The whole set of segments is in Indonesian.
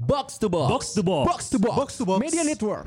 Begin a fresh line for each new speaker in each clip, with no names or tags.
Box to Box.
Box to Box.
Box to Box.
Box to Box.
Media Network.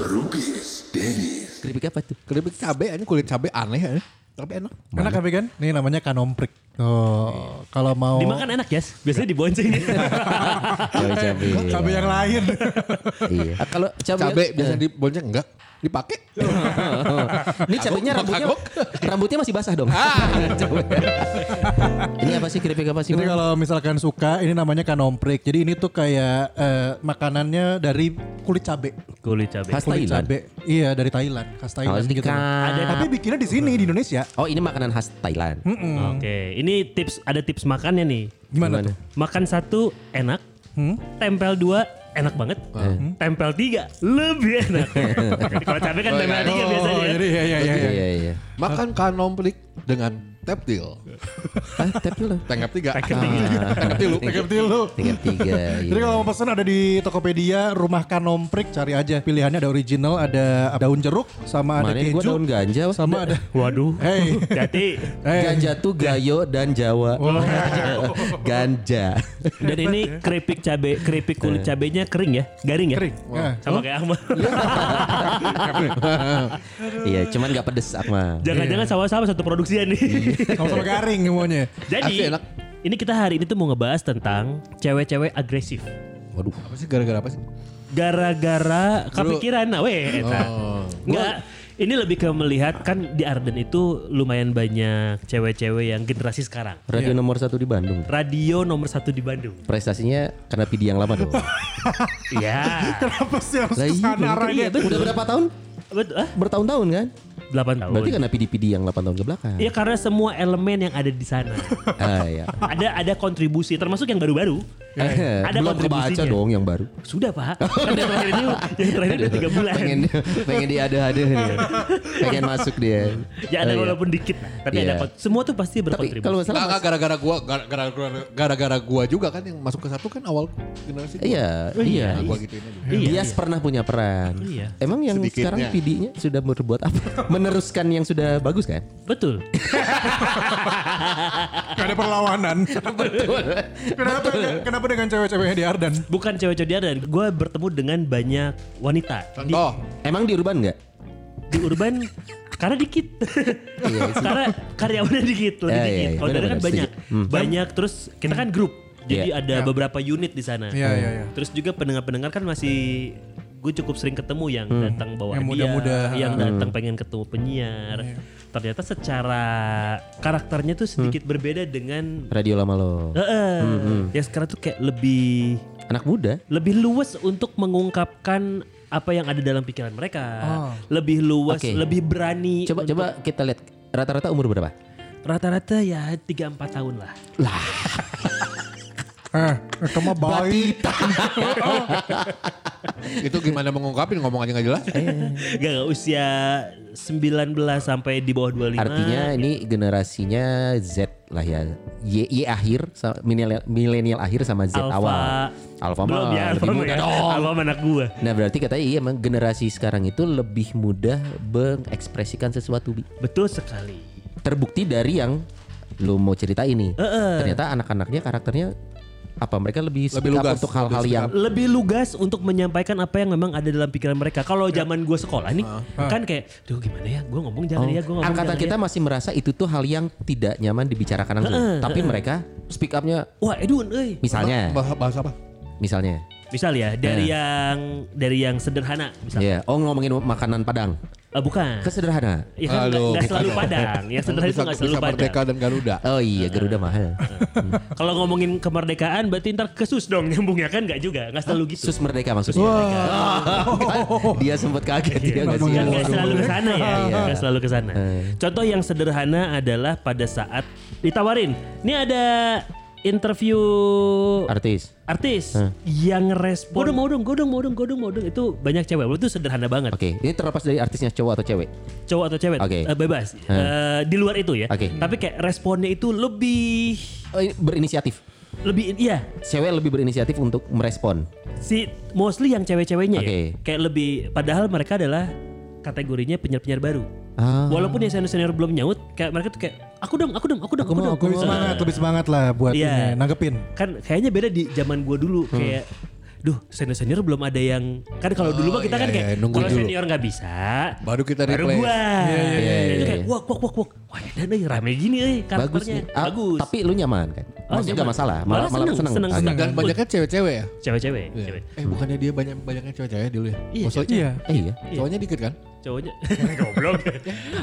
Rubies Dennis.
Keripik apa tuh?
Keripik cabe aja kulit cabe aneh aja. Tapi enak.
Enak tapi kan? Ini namanya kanomprik. Oh, kalau mau
Dimakan enak ya, biasanya dibonceng.
Cabai cabai.
cabai yang lain.
Iya. Ah, Kalau cabai,
Cabe
Eh.
biasanya dibonceng enggak? Dipakai.
Ini cabainya
Kagok,
rambutnya
kagok.
rambutnya masih basah dong.
Ah.
Cabai. Ini apa sih keripik apa sih?
Jadi
Bang?
kalau misalkan suka, ini namanya kanomprik. Jadi ini tuh kayak eh, makanannya dari kulit cabe.
Kulit cabai.
Khas
Kulit
Thailand.
cabe. Iya, dari Thailand, khas
Oh,
Thailand gitu.
Ada
Tapi bikinnya di sini di Indonesia.
Oh ini makanan khas Thailand.
Hmm,
Hmm. Oke, ini tips ada tips makannya nih.
Gimana? Hmm? tuh?
Makan satu enak, tempel dua enak banget,
Hmm?
tempel tiga lebih enak. Kalau cabai kan tempel tiga biasanya.
Oh, iya. jadi ya ya ya.
Iya iya iya.
Makan kanomplik dengan teptil.
Ah, tapi lah.
Tengah tiga.
Tengah tiga.
Ah, Tengah tilu.
Tiga tilu.
Tiga tiga.
Jadi kalau mau pesan ada di Tokopedia Rumah Kanomprik cari aja pilihannya ada original ada daun jeruk sama ada
Mana gue
keju
daun ganja
sama ada
Waduh.
Hey.
Jadi
eh
Ganja tuh Gayo dan Jawa.
Oh.
Ganja.
dan ini keripik cabai, keripik kulit
Iya.
cabainya kering ya, garing ya. Kering.
Wah.
Sama kayak Ahmad.
Iya, cuman gak pedes
Iya.
Akmal.
Jangan-jangan sama-sama satu produksian nih.
sama-sama garing semuanya.
Jadi
Asli enak.
ini kita hari ini tuh mau ngebahas tentang cewek-cewek agresif.
Waduh.
Apa sih gara-gara apa sih?
Gara-gara kepikiran, nah
Oh.
weh, eta. Nggak, ini lebih ke melihat kan di Arden itu lumayan banyak cewek-cewek yang generasi sekarang.
Radio nomor satu di Bandung.
Radio nomor satu di Bandung.
Prestasinya karena PD yang lama dong.
Iya.
Kenapa sih harus
Lah iya,
kesana
bener.
arahnya?
Iya, betul.
Udah berapa tahun?
Betul, ah,
Bertahun-tahun kan?
8 tahun.
Berarti kan- karena PD-PD yang 8 tahun ke belakang.
Iya karena semua elemen yang ada di sana.
Ah, iya.
ada ada kontribusi termasuk yang baru-baru.
Eh,
Ada
Belum kebaca
kontribusinya.
dong yang baru.
Sudah Pak. Kan yang terakhir ini yang terakhir udah 3 bulan.
Pengen pengen diada-ada nih. Pengen masuk dia.
Ya ada
Oh, iya.
walaupun dikit lah, tapi
Iya.
ada kon- semua tuh pasti
Tapi
berkontribusi.
kalau nggak salah
Enggak, enggak gara-gara gua gara-gara gara-gara gua juga kan yang masuk ke satu kan awal generasi. gua.
Iya,
Oh,
iya.
iya.
Nah, gua gituin aja.
Dias pernah punya peran.
Iya.
Emang yang
Sedikitnya.
sekarang PD-nya sudah berbuat apa? Meneruskan yang sudah bagus kan?
betul.
Gak ada perlawanan. kenapa, kenapa dengan cewek-ceweknya di Ardan?
Bukan cewek-cewek dia dan gue bertemu dengan banyak wanita di,
Contoh,
Emang di urban nggak?
di urban karena dikit.
Iya sih.
karena karyawannya dikit,
Iya,
lebih
iya,
dikit.
iya.
Kalau dari kan
Benar-benar, Hmm.
banyak. Banyak terus kita kan grup. Jadi
Iya.
ada
Ya.
beberapa unit di sana.
Iya, iya, iya.
Terus juga pendengar-pendengar kan masih gue cukup sering ketemu yang
Hmm.
datang bawa
Yang
hadiah,
muda-muda. Ya.
yang datang pengen ketemu penyiar. Ternyata secara karakternya tuh sedikit
Hmm.
berbeda dengan
Radio lama lo.
Heeh. Yang sekarang tuh kayak lebih
Anak muda.
lebih luas untuk mengungkapkan apa yang ada dalam pikiran mereka. Lebih luas,
Oh. Oke.
lebih berani.
Coba coba kita lihat rata-rata umur berapa?
Rata-rata ya 3 4 tahun lah.
Eh, kamu baik.
itu gimana mengungkapin ngomong aja nggak jelas.
Iya,
Gak, gak usia 19 sampai di bawah 25.
Artinya ini generasinya Z lah ya. Y, Y akhir sa- milenial milenial akhir sama Z
Alpha.
awal. Alpha
belum
mah
ya,
lebih
Alfa
muda
ya.
dong.
Alfa anak gua.
Nah berarti katanya iya emang generasi sekarang itu lebih mudah mengekspresikan sesuatu Bi.
Betul sekali.
terbukti dari yang lu mau cerita ini.
Heeh.
Ternyata anak-anaknya karakternya apa mereka lebih speak
Lebih
up
lugas,
untuk hal-hal
lebih
yang
lebih lugas untuk menyampaikan apa yang memang ada dalam pikiran mereka. Kalau
Ya.
zaman gua sekolah nih, kan kayak, duh gimana ya, gua ngomong jangan ya, gua
Ah,
ngomong
Oh. angkatan
jangan
kita
ya.
masih merasa itu tuh hal yang tidak nyaman dibicarakan langsung.
Heeh,
Tapi mereka speak upnya
Wah, Edun, eh. euy.
misalnya,
Bahasa, bahasa apa?
misalnya,
Misal ya dari yang dari yang sederhana misal.
ya, oh ngomongin makanan Padang,
Eh, bukan.
kesederhana.
Ya
Halo,
kan nggak- nggak
bukan
selalu
dong.
padang. Yang sederhana itu
bisa,
nggak selalu
bisa
padang.
Merdeka dan Garuda.
Oh iya, Garuda mahal.
Kalau ngomongin kemerdekaan berarti ntar kesus dong nyambungnya kan nggak juga. Nggak selalu gitu.
Sus merdeka maksudnya. dia sempat kaget
Iya,
dia nggak sih?
Nggak nggak
Waduh.
selalu Eh. ke sana ya.
Iya.
Nggak selalu ke sana. Contoh yang sederhana adalah pada saat ditawarin, "Ini ada interview
Artis.
artis yang respon. Godong, mau dong, godong, mau dong, godong, mau dong. Itu banyak cewek. Itu sederhana banget.
Oke, ini terlepas dari artisnya cowok atau cewek.
cowok atau cewek
Oke. Hmm.
eh, bebas Eh, di luar itu ya
Oke.
tapi kayak responnya itu lebih
Oh, ini berinisiatif.
lebih iya
Cewek lebih berinisiatif untuk merespon.
si mostly yang cewek-ceweknya
Oke.
ya kayak lebih padahal mereka adalah kategorinya penyiar-penyiar baru.
Ah.
Walaupun yang senior-senior belum nyaut, kayak mereka tuh kayak aku dong, aku dong, aku dong, aku, dong.
Lebih semangat, lebih semangat lah buat
Iya.
ini, nanggepin.
Kan kayaknya beda di zaman gua dulu
Hmm.
kayak duh senior-senior belum ada yang kan kalau dulu mah kita
iya,
kan kayak
iya, nunggu
kalau
dulu.
senior nggak bisa
Baru kita
baru
replace.
gua
Iya, iya,
iya,
itu
iya,
kayak
iya.
wak wak wak wak wah ya nih rame gini eh
Bagus
karakternya
nih. Ah,
bagus
Tapi lu nyaman kan?
Oh,
Maksudnya
nyaman.
nggak masalah. Malah,
Malah
malah
seneng,
seneng.
seneng,
Ah,
seneng.
iya.
Dan banyaknya cewek-cewek ya?
cewek-cewek
Iya.
cewek
Eh bukannya dia banyak banyaknya cewek-cewek dulu ya?
Iya,
Maksudnya
Iya.
Eh, iya.
cowoknya dikit kan?
cowoknya goblok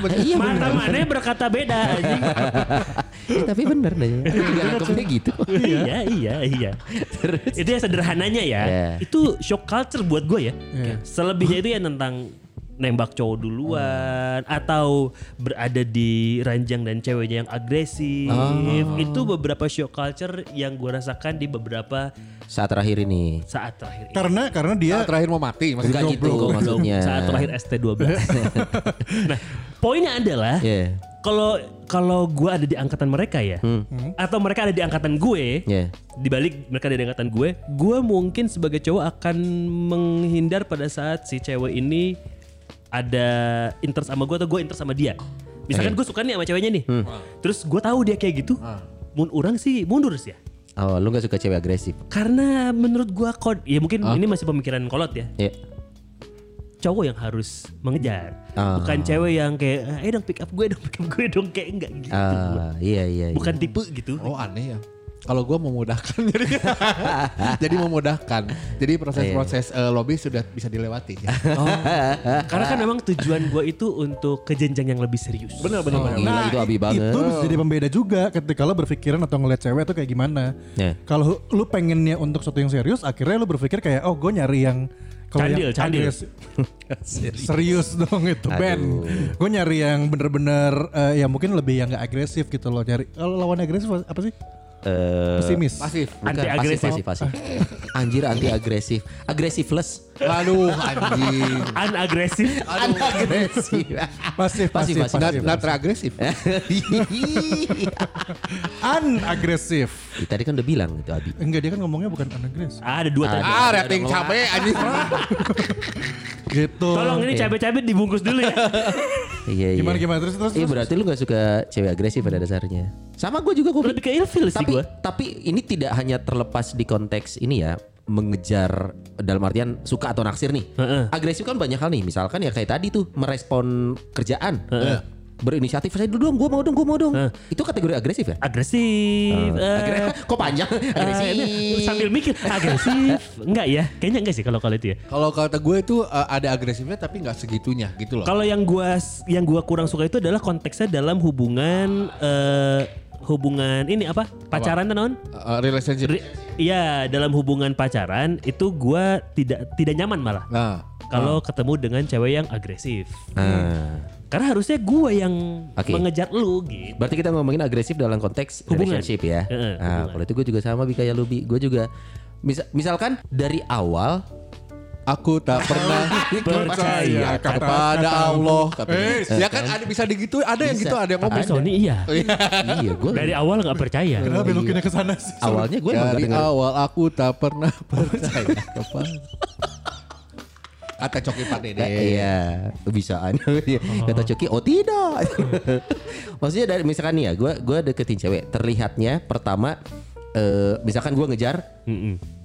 Eh, iya bener.
mata mana berkata beda anjing.
Eh, tapi bener deh. Aku juga nangkepnya gitu.
iya iya iya itu ya sederhananya ya
Iya.
itu shock culture buat gue ya selebihnya itu ya tentang nembak cowok duluan atau berada di ranjang dan ceweknya yang agresif
Oh.
itu beberapa shock culture yang gue rasakan di beberapa
Saat terakhir ini.
saat terakhir ini.
Karena karena dia
Saat terakhir mau mati maksudnya.
Enggak gitu maksudnya.
saat terakhir ST12 nah poinnya adalah
Iya.
kalau kalau gue ada di angkatan mereka ya
Hmm.
atau mereka ada di angkatan gue
Iya.
di balik mereka ada di angkatan gue gue mungkin sebagai cowok akan menghindar pada saat si cewek ini ada interest sama gue atau gue interest sama dia misalkan gue suka nih sama ceweknya nih
Hmm.
terus gue tahu dia kayak gitu mun orang sih mundur sih ya
Oh, lu gak suka cewek agresif?
karena menurut gue kod ya mungkin
Ah.
ini masih pemikiran kolot ya
Iya.
cowok yang harus mengejar
Ah.
bukan cewek yang kayak eh dong pick up gue dong pick up gue dong kayak enggak gitu
Ah, iya iya. iya.
bukan tipe gitu
Oh aneh ya. Kalau gue memudahkan jadi jadi memudahkan. Jadi proses-proses eh, lobby sudah bisa dilewati. Ya.
karena kan memang tujuan gue itu untuk ke jenjang yang lebih serius benar
Oh,
benar
gila, itu abi banget.
Nah, Itu bisa jadi pembeda juga ketika lo berpikiran atau ngeliat cewek itu kayak gimana.
Ya.
Kalau lu pengennya untuk sesuatu yang serius, akhirnya lu berpikir kayak oh gue nyari yang kalau
Candil,
yang
candil.
agres- serius dong itu band. Gue nyari yang bener-bener eh, yang mungkin lebih yang gak agresif gitu loh. Nyari kalau lawan agresif apa sih?
Eh,
Pesimis.
Pasif.
bukan,
Anti-agresif.
pasif, pasif, pasif. Anjir anti agresif. Agresifless.
Oh. Aduh anjing.
unagresif
Anti agresif.
Pasif,
Pasif,
pasif,
pasif.
pasif.
Nggak nggak teragresif.
Unagresif.
Tadi kan udah bilang itu Abi.
Enggak dia kan ngomongnya bukan unagresif.
ada dua tadi
ah rating cabe anjing.
Gitu.
tolong ini cabai-cabai dibungkus dulu ya
Iya iya.
Gimana gimana terus terus.
Iya
terus.
berarti lu gak suka cewek agresif pada dasarnya. Sama gue juga gue
lebih ke ilfil sih
tapi
gue
tapi ini tidak hanya terlepas di konteks ini ya mengejar dalam artian suka atau naksir nih.
Heeh.
Agresif kan banyak hal nih. Misalkan ya kayak tadi tuh merespon kerjaan. Berinisiatif saya dulu dong, gue mau dong, gue mau dong. Itu kategori agresif
Eh.
ya?
agresif eh,
Agre- Kok panjang?
eh, ini,
Agresif.
sambil mikir agresif enggak ya kayaknya enggak sih kalau kalau itu ya
Kalau kata gue itu eh, ada agresifnya tapi nggak segitunya gitu loh.
Kalau yang gua yang gua kurang suka itu adalah konteksnya dalam hubungan eh hubungan ini apa? Pacaran non?
Eh, relationship.
Iya, dalam hubungan pacaran itu gua tidak tidak nyaman malah.
Nah,
Kalau ketemu dengan cewek yang agresif.
Ah.
Karena harusnya gua yang
Oke.
mengejar lu gitu.
Berarti kita ngomongin agresif dalam konteks
Hubungan.
relationship ya.
Heeh,
nah, kalau itu gue juga sama Bi kayak Lubi. Gue juga misa- misalkan dari awal
aku tak pernah
Percaya
percaya kepada Allah. Katanya. ya kan ada bisa digitu, ada yang
Bisa.
gitu, ada yang ngomong.
Tapi Sony iya.
iya gue
Dari awal nggak percaya.
Kenapa belokinnya ke sana sih?
awalnya gue emang gak
Dari
denger
awal aku tak pernah percaya kepada Kata Coki Pak Dede.
Nah, iya, bisaan. Kata Coki, oh tidak. Maksudnya dari misalkan nih ya, gue gua deketin cewek. Terlihatnya pertama, eh, misalkan gue ngejar,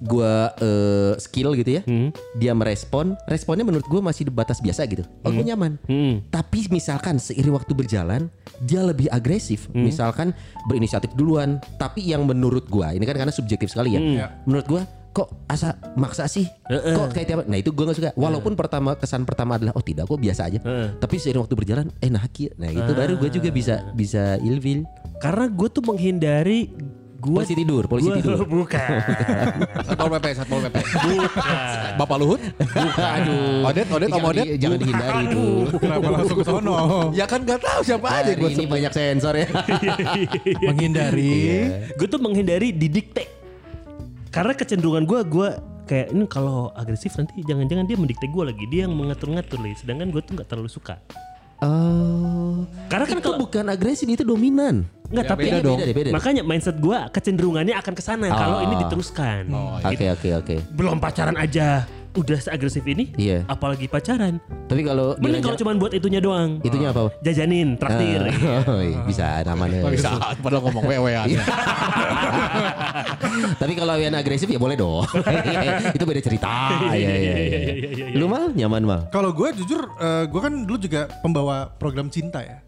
gue eh, skill gitu ya,
Hmm.
dia merespon, responnya menurut gue masih di batas biasa gitu. Oh
Hmm.
gue nyaman.
Mm-mm.
Tapi misalkan seiring waktu berjalan, dia lebih agresif. Misalkan berinisiatif duluan. Tapi yang menurut gue, ini kan karena subjektif sekali ya. Menurut gue kok asa maksa sih kok kayak tiap nah itu gue gak suka walaupun pertama kesan pertama adalah oh tidak gue biasa aja tapi seiring waktu berjalan eh nah ki- nah itu baru gue juga bisa bisa ilfil
Karena gue tuh menghindari gua
polisi tidur polisi
gua-
tidur
Bukan.
Satpol PP, Satpol PP. Bapak Luhut? Aduh. Odet, Odet, Om
jangan,
Odet.
di- jangan dihindari itu
Kenapa langsung ke sono?
Ya kan gak tahu siapa aja
hari
gue
ini banyak sensor ya Iya.
Menghindari.
gue tuh menghindari didikte karena kecenderungan gue gue kayak ini kalau agresif nanti jangan-jangan dia mendikte gue lagi dia yang mengatur-ngatur lagi sedangkan gue tuh nggak terlalu suka
Oh.
Karena kan
itu
kalau-
bukan agresif itu dominan.
Enggak,
Ya,
tapi
beda
ini
dong.
deh, beda deh.
makanya mindset gua kecenderungannya akan ke sana kalau
Oh.
ini diteruskan. Gitu.
Oke oke oke.
Belum pacaran aja udah seagresif ini,
Iya.
apalagi pacaran.
Tapi kalau
Mending kalau
dilanjut-
cuman buat itunya doang.
itunya apa?
Jajanin, traktir.
Oh, iya, bisa namanya.
Bisa, padahal ngomong wewean.
Iya. Tapi kalau yang agresif ya boleh dong. itu beda cerita. Iya iya iya. Lu mal nyaman mal.
Kalau gue jujur, eh, gue kan dulu juga pembawa program cinta ya.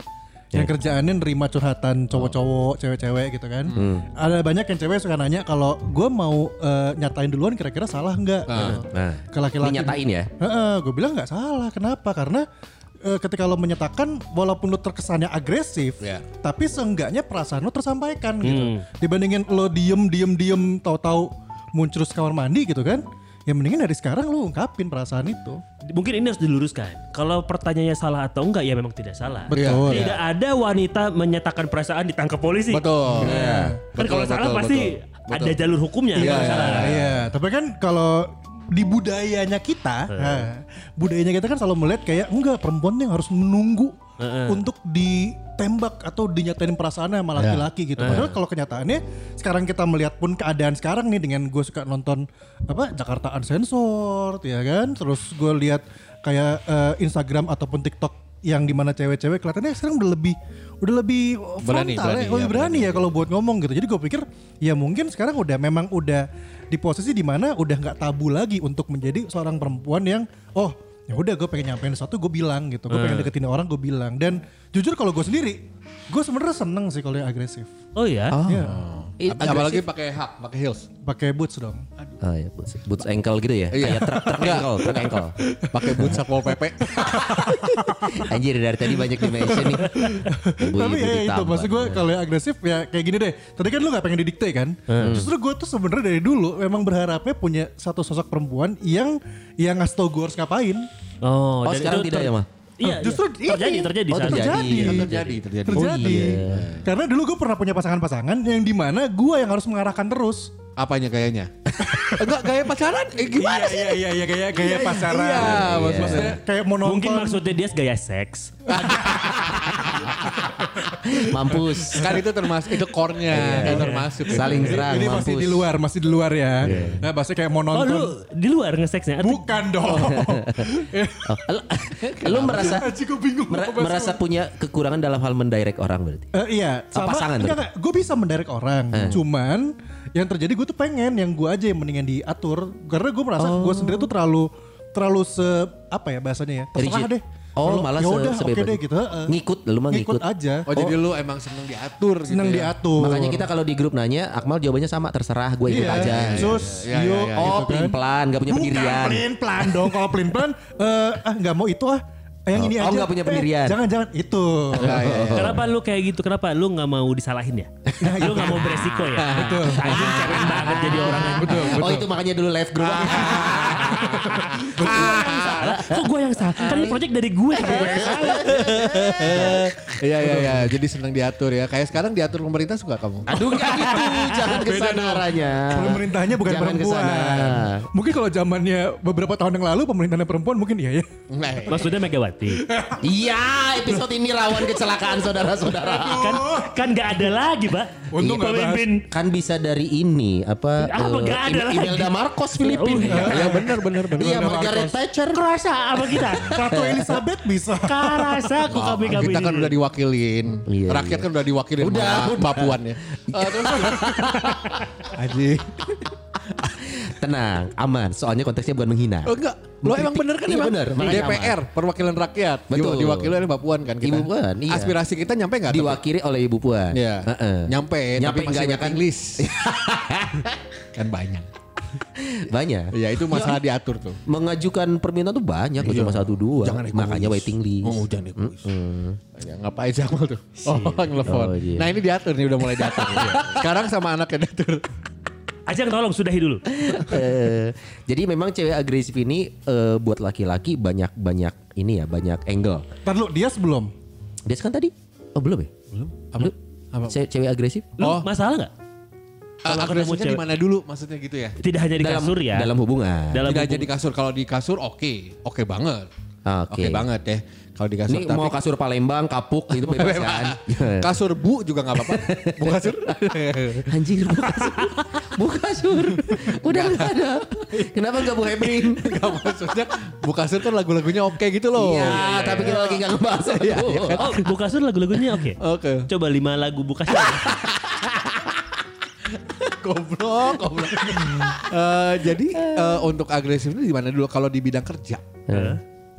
Iya.
Yang kerjaannya nerima curhatan cowok-cowok, cewek-cewek gitu kan.
Hmm.
Ada banyak yang cewek suka nanya kalau gue mau eh, nyatain duluan kira-kira salah nggak? gitu.
nah.
Ke laki-laki.
Lu nyatain ya?
gue bilang nggak salah. Kenapa? Karena eh, ketika lo menyatakan walaupun lo terkesannya agresif,
Ya.
tapi seenggaknya perasaan lo tersampaikan gitu. Dibandingin lo diem diem diem tahu-tahu muncul ke kamar mandi gitu kan. Ya mendingan dari sekarang lo ungkapin perasaan itu.
Mungkin ini harus diluruskan. Kalau pertanyaannya salah atau enggak ya memang tidak salah.
Betul.
Tidak ada wanita menyatakan perasaan ditangkap polisi.
Betul.
Iya.
Kan kalau salah pasti ada jalur hukumnya
Iya,
kalau
iya,
salah.
Nah, Iya, tapi kan kalau di budayanya kita, nah, budayanya kita kan selalu melihat kayak enggak perempuan yang harus menunggu untuk ditembak atau dinyatain perasaannya sama laki-laki gitu. Padahal kalau kenyataannya sekarang kita melihat pun keadaan sekarang nih dengan gue suka nonton apa Jakarta Uncensored ya kan, terus gue lihat kayak eh, Instagram ataupun TikTok yang dimana cewek-cewek kelihatannya sekarang udah lebih udah lebih
Berani, berani,
frontal ya, lebih
ya,
berani ya kalau buat ngomong gitu. Jadi gue pikir ya mungkin sekarang udah memang udah di posisi dimana udah nggak tabu lagi untuk menjadi seorang perempuan yang oh ya udah gue pengen nyampein sesuatu gue bilang gitu. Gue pengen deketin orang gue bilang. Dan jujur kalau gue sendiri gue sebenarnya seneng sih kalau yang agresif.
Oh iya.
Iya.
Ih,
Ap- Apalagi pakai hak, pakai heels.
Pakai boots dong.
Oh, iya, boots, boots ankle gitu ya?
Iya.
Kayak truk truk ankle, truk ankle.
Pakai boot satpol PP.
Anjir dari tadi banyak dimention nih. Ibu-ibu
Tapi ya itu
ditambah.
maksud gue kalau yang agresif ya kayak gini deh. Tadi kan lu nggak pengen didikte kan? Justru gue tuh sebenarnya dari dulu memang berharapnya punya satu sosok perempuan yang yang ngasih tau gue harus ngapain.
Oh,
Oh,
dan
sekarang
itu
tidak
ter-
ya, Mah?
Iya,
Ah, Justru
iya. terjadi,
ini.
terjadi.
Oh,
saat-
terjadi.
terjadi, terjadi.
terjadi. Karena dulu gue pernah punya pasangan-pasangan yang dimana gue yang harus mengarahkan terus.
Apanya gayanya? Enggak gaya pacaran? Eh, gimana sih?
iya iya kayak kayak pasaran.
Iya, maksudnya.
Kayak mau nonton.
Mungkin maksudnya dia gaya seks.
Mampus.
Kan itu termasuk itu core-nya, kan termasuk.
Iya, Saling serang,
ini
mampus.
masih di luar, masih di luar ya. Nah, maksudnya kayak mau
Oh,
nonton.
lu di luar ngeseksnya? Atau-
Bukan dong.
Oh, lu, lu merasa
Aji, gua bingung
mera-
apa
merasa punya kekurangan dalam hal mendirect orang berarti.
Eh, iya, sama
pasangan berarti?
enggak,
Eh.
enggak, gue bisa mendirect orang. Cuman yang terjadi gue tuh pengen yang gue aja yang mendingan diatur karena gue merasa gue
Oh.
sendiri tuh terlalu terlalu se apa ya bahasanya ya terserah
Rigid.
deh.
Oh,
Kalau,
malah
ya
se-
udah oke
sebebas.
deh gitu. heeh.
Ngikut, lu mah ngikut.
aja.
Oh, jadi lu emang seneng diatur gitu
senang
ya?
diatur.
Makanya kita kalau di grup nanya, Akmal jawabannya sama, terserah gue ikut
Iya,
aja.
Sus,
Iya, iya,
yuk,
iya,
Oh,
gitu kan.
pelin-pelan, gak punya
Bukan
pendirian.
pelin-pelan dong. Kalau pelin-pelan, eh, ah nggak mau itu ah. Eh, Yang
Oh,
ini
oh,
aja.
nggak punya
Eh,
pendirian.
Jangan-jangan itu.
Nah, iya, iya.
Kenapa lu kayak gitu? Kenapa lu nggak mau disalahin ya? lu nggak mau beresiko ya? Betul. Anjing cemen banget jadi orang. ya. Betul.
Oh itu makanya dulu live group.
Ah.
Kok gue yang salah? Kan ini project dari gue. kenapa gua yang salah?
Iya iya iya, jadi seneng diatur ya. Kayak sekarang diatur pemerintah suka kamu.
Aduh nggak gitu, jangan kesana arahnya.
Pemerintahnya bukan
Ah, Jangan
perempuan.
kesana.
Mungkin kalau zamannya beberapa tahun yang lalu pemerintahnya perempuan mungkin iya ya.
Nah, iya.
Maksudnya Megawati.
Iya, episode ini rawan kecelakaan saudara-saudara.
Kan kan nggak ada lagi, Pak.
Untung nggak bahas.
pemimpin.
Kan bisa dari ini apa?
Iya,
Apa,
eh,
nggak ada
Im-
lagi.
Imelda Marcos Filipina.
Ya benar benar benar.
Iya, Margaret Thatcher.
Kerasa apa kita?
Ratu Elizabeth bisa.
Karasa aku kami kami.
kita kan udah diwakilin,
Iya,
rakyat kan udah diwakilin
Udah,
sama
udah. Iya.
Papuan ya. Eh, terus
Aji.
Tenang, aman. Soalnya konteksnya bukan menghina.
oh, enggak, lo emang bener kan
Iya,
emang
bener. Makanya
DPR perwakilan rakyat, Di-
Betul.
diwakilin oleh Papuan kan kita.
Ibu Puan, iya.
Aspirasi kita nyampe nggak?
Diwakili oleh Ibu Puan.
Iya.
Heeh.
Nyampe,
Nyampe
tapi masih
enggaknya kan
waiting list. kan banyak.
kan banyak.
Iya itu masalah diatur tuh.
Mengajukan permintaan tuh banyak, nggak cuma satu
Iya.
dua.
Jangan egois.
Makanya waiting list.
Oh jangan egois. Ya,
Iya,
ngapain sih Akmal tuh? Oh ngelepon.
Oh, iya.
Nah ini diatur nih udah mulai diatur. Iya. Sekarang sama anaknya diatur.
Ajang tolong sudahi dulu.
Eh, jadi memang cewek agresif ini eh, buat laki-laki banyak banyak ini ya banyak angle.
Ntar lu dia sebelum.
Dia kan tadi oh belum ya? Belum. Apa? Ce- cewek agresif?
Lu
Oh.
masalah nggak? Kalau ketemu
Agresifnya di
cewek.
mana dulu maksudnya gitu ya?
Tidak hanya di
dalam
kasur ya.
dalam hubungan.
Dalam
Tidak
hubung-
jadi kasur. Kalau di kasur oke, oke banget.
Ah, Oke.
Oke banget ya kalau di kasur.
Ini
Tapi ya,
mau kasur Palembang, kapuk itu bebas kan.
kasur bu juga nggak apa-apa. Bu kasur.
Anjir, bu kasur. Bu kasur. Udah nggak ada. Kenapa nggak bu happening?
Gak maksudnya bu kasur kan lagu-lagunya oke gitu loh. Iya,
Iya, tapi kita lagi nggak ngebahas itu.
Oh, buka Sur lagu-lagunya oke.
Oke.
Coba lima lagu buka Sur.
Goblok, goblok. Eh, jadi eh, untuk agresif itu gimana dulu kalau di bidang kerja?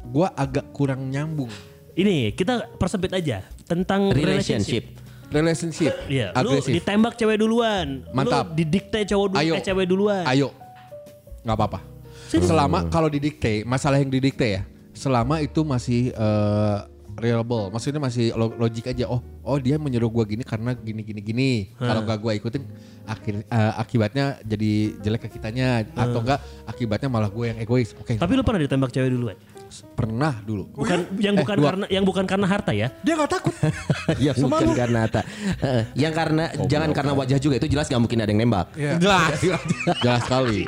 Gua agak kurang nyambung.
Ini kita persempit aja tentang
Relationship.
relationship.
Relationship
Iya, lu
agresif.
ditembak cewek duluan.
Mantap.
Lu didikte cowok dulu,
Ayo.
eh, cewek duluan.
Ayo. nggak apa-apa. Selama kalau didikte, masalah yang didikte ya. Selama itu masih eh, reliable, maksudnya masih lo- logik aja. Oh, oh dia menyuruh gua gini karena gini gini gini. Kalau gak gua ikutin akhir eh, akibatnya jadi jelek ke kitanya atau enggak akibatnya malah gue yang egois. Oke.
Tapi lu pernah ditembak cewek duluan?
pernah dulu.
Bukan yang
Eh,
bukan
dua.
karena yang bukan karena harta ya.
Dia gak takut.
Ya Oh,
Sama
bukan
lu.
karena Ata. Heeh, yang karena jangan karena wajah juga itu jelas nggak mungkin ada yang nembak.
Iya.
Jelas. Jelas sekali.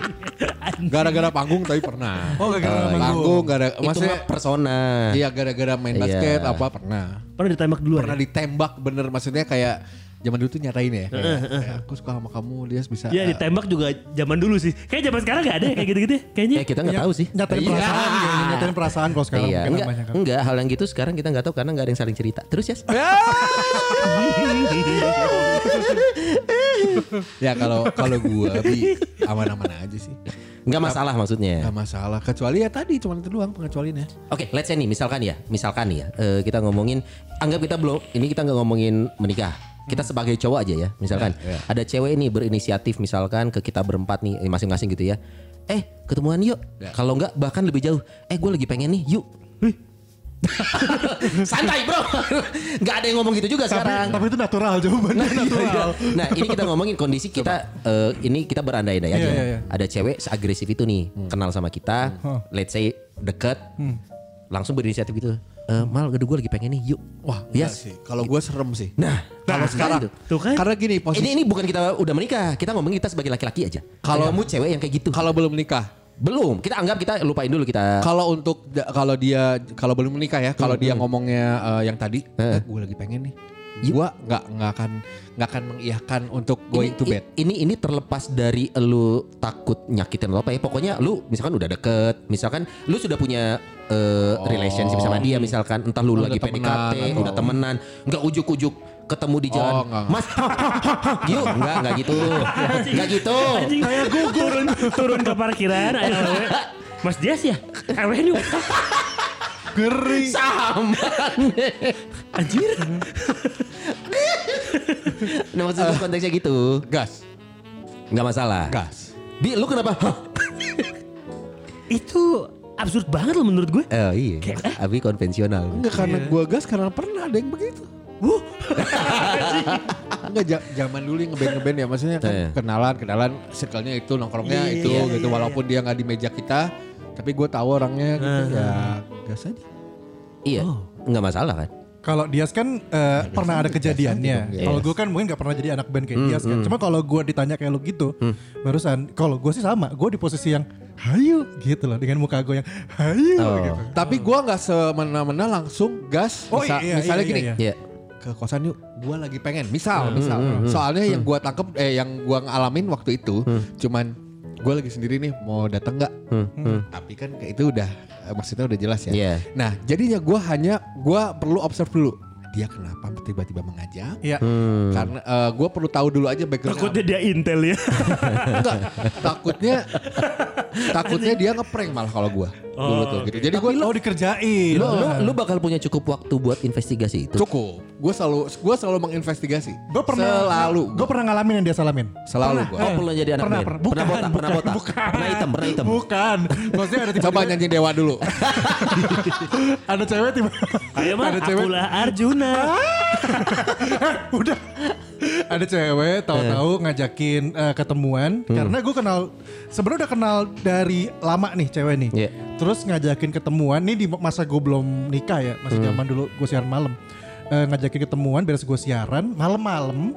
Gara-gara panggung tapi pernah.
Oh,
Eh,
gara-gara panggung.
panggung. gara
Itu
maksudnya
mah persona.
iya gara-gara main
Iya.
basket apa pernah.
Pernah ditembak duluan.
Pernah
ya?
ditembak bener maksudnya kayak zaman dulu tuh nyatain ya. Kayak, kayak, aku suka sama kamu, dia bisa. Eh,
Ya ditembak juga zaman dulu sih. Kayak zaman sekarang gak ada ya, kayak gitu-gitu. ya. Kayaknya
Eh
gitu.
kita nggak tahu sih.
Nyatain
Iya.
perasaan kayaknya, nyatain perasaan kalau sekarang
Iya,
mungkin
enggak,
namanya kan. Iya.
enggak hal yang gitu sekarang kita nggak tahu karena nggak ada yang saling cerita. Terus ya.
Ya kalau kalau gua bi aman-aman aja sih.
Enggak masalah
Iya.
maksudnya.
Gak masalah. Kecuali ya tadi cuman itu doang pengecualian ya.
Oke, let's say nih misalkan ya, misalkan nih ya, eh, kita ngomongin anggap kita belum ini kita nggak ngomongin menikah. Kita
Hmm.
sebagai cowok aja ya, misalkan
Iya,
ada cewek nih berinisiatif misalkan ke kita berempat nih eh, masing-masing gitu ya. Eh, ketemuan yuk.
Iya.
Kalau enggak bahkan lebih jauh. Eh, gue lagi pengen nih, yuk. Santai, Bro. Nggak ada yang ngomong gitu juga
Tapi,
sekarang.
tapi itu natural jawabannya natural.
Nah ini kita ngomongin kondisi kita eh, ini kita berandai-andai aja.
Iya, iya, iya.
Ada cewek seagresif itu nih kenal sama kita,
Hmm.
let's say deket, langsung berinisiatif gitu. "Eh, mal, gedung gue lagi pengen nih, yuk.
Wah, iya
yes.
sih. Kalau gua serem sih.
Nah,
Kalau sekarang
itu.
Tuh kan.
Karena gini posisi
ini ini bukan kita udah menikah, kita ngomongin kita sebagai laki-laki aja. Kalau
Kalau-
kamu cewek yang kayak gitu,
kalau belum nikah
belum. Kita anggap kita lupain dulu kita.
kalau untuk da- kalau dia kalau belum menikah ya kalau dia ngomongnya eh, yang tadi
Heeh.
gue lagi pengen nih
Yuk.
gue nggak nggak akan nggak akan mengiyakan untuk going
ini,
to bed
i- Ini ini terlepas dari lu takut nyakitin atau apa ya. Pokoknya lu misalkan udah deket, misalkan lu sudah punya eh, relationship sama dia misalkan entah lu
Oh. Udah
lagi
temenan
PDKT,
atau-
udah temenan, nggak ujuk-ujuk ketemu di jalan.
Oh, nggak.
Mas, yuk enggak enggak gitu. Enggak gitu.
Anjing kayak gugur turun, turun ke parkiran ayo awe. Mas Dias ya? Awe ini
geri
Sama.
anjir.
Nah, maksud gue konteksnya gitu.
gas
Enggak masalah.
gas
Bi, lu kenapa?
Itu absurd banget loh menurut gue.
Eh iya. Abi konvensional.
nggak karena gue gas karena pernah ada yang begitu
Wuh.
Enggak ja- zaman dulu yang ngeband ngeband ya maksudnya kan
Iya.
kenalan kenalan circle-nya itu nongkrongnya
Iya,
itu
iya,
gitu walaupun dia nggak di meja kita tapi gue tahu orangnya gitu ya gas aja
Iya.
Oh.
Enggak masalah kan?
Kalau Dias kan eh, pernah ada kejadiannya.
Dias. gitu. Iya. Hmm,
Kalau gue kan mungkin gak pernah jadi anak band kayak Dias kan. Cuma kalau gue ditanya kayak lu gitu, barusan kalau gue sih sama. Gue di posisi yang hayu gitu loh dengan muka gue yang hayu
Oh.
gitu.
tapi gue nggak semena-mena langsung gas
Oh,
Misa-
iya, iya,
misalnya
iya,
gini
iya.
Iya.
ke kosan yuk gue lagi pengen misal misal soalnya yang gue tangkep eh yang gue ngalamin waktu itu cuman gue lagi sendiri nih mau dateng nggak
Hmm.
tapi kan kayak itu udah eh, maksudnya udah jelas ya
Iya.
nah jadinya gue hanya gue perlu observe dulu dia kenapa tiba-tiba mengajak
Iya.
Hmm.
karena gue perlu tahu dulu aja background
Takutnya dia intel ya.
Enggak, takutnya takutnya dia ngeprank malah kalau gue dulu tuh gitu jadi gue
Oh dikerjain.
Lu, lu, lu bakal punya cukup waktu buat investigasi itu.
cukup gue selalu gue selalu menginvestigasi
Gue pernah
selalu
Gue pernah ngalamin yang dia salamin.
selalu gue
Oh, perlu jadi anak
Pernah, Eh,
band. pernah
pernah. Bukan,
botak, pernah
bukan,
botak.
bukan.
Pernah hitam, pernah hitam.
Bukan. Maksudnya ada tiba-tiba
Coba nyanyi dewa dulu.
ada cewek tiba.
Ayo mah
ada cewek.
akulah Arjuna.
Eh, udah. Ada cewek tahu-tahu ngajakin eh, ketemuan
Hmm.
karena gue kenal sebenarnya udah kenal dari lama nih cewek nih.
Iya.
Terus ngajakin ketemuan nih di masa gue belum nikah ya, masih
Hmm.
zaman dulu gue siaran malam. Eh, ngajakin ketemuan beres gue siaran malam-malam.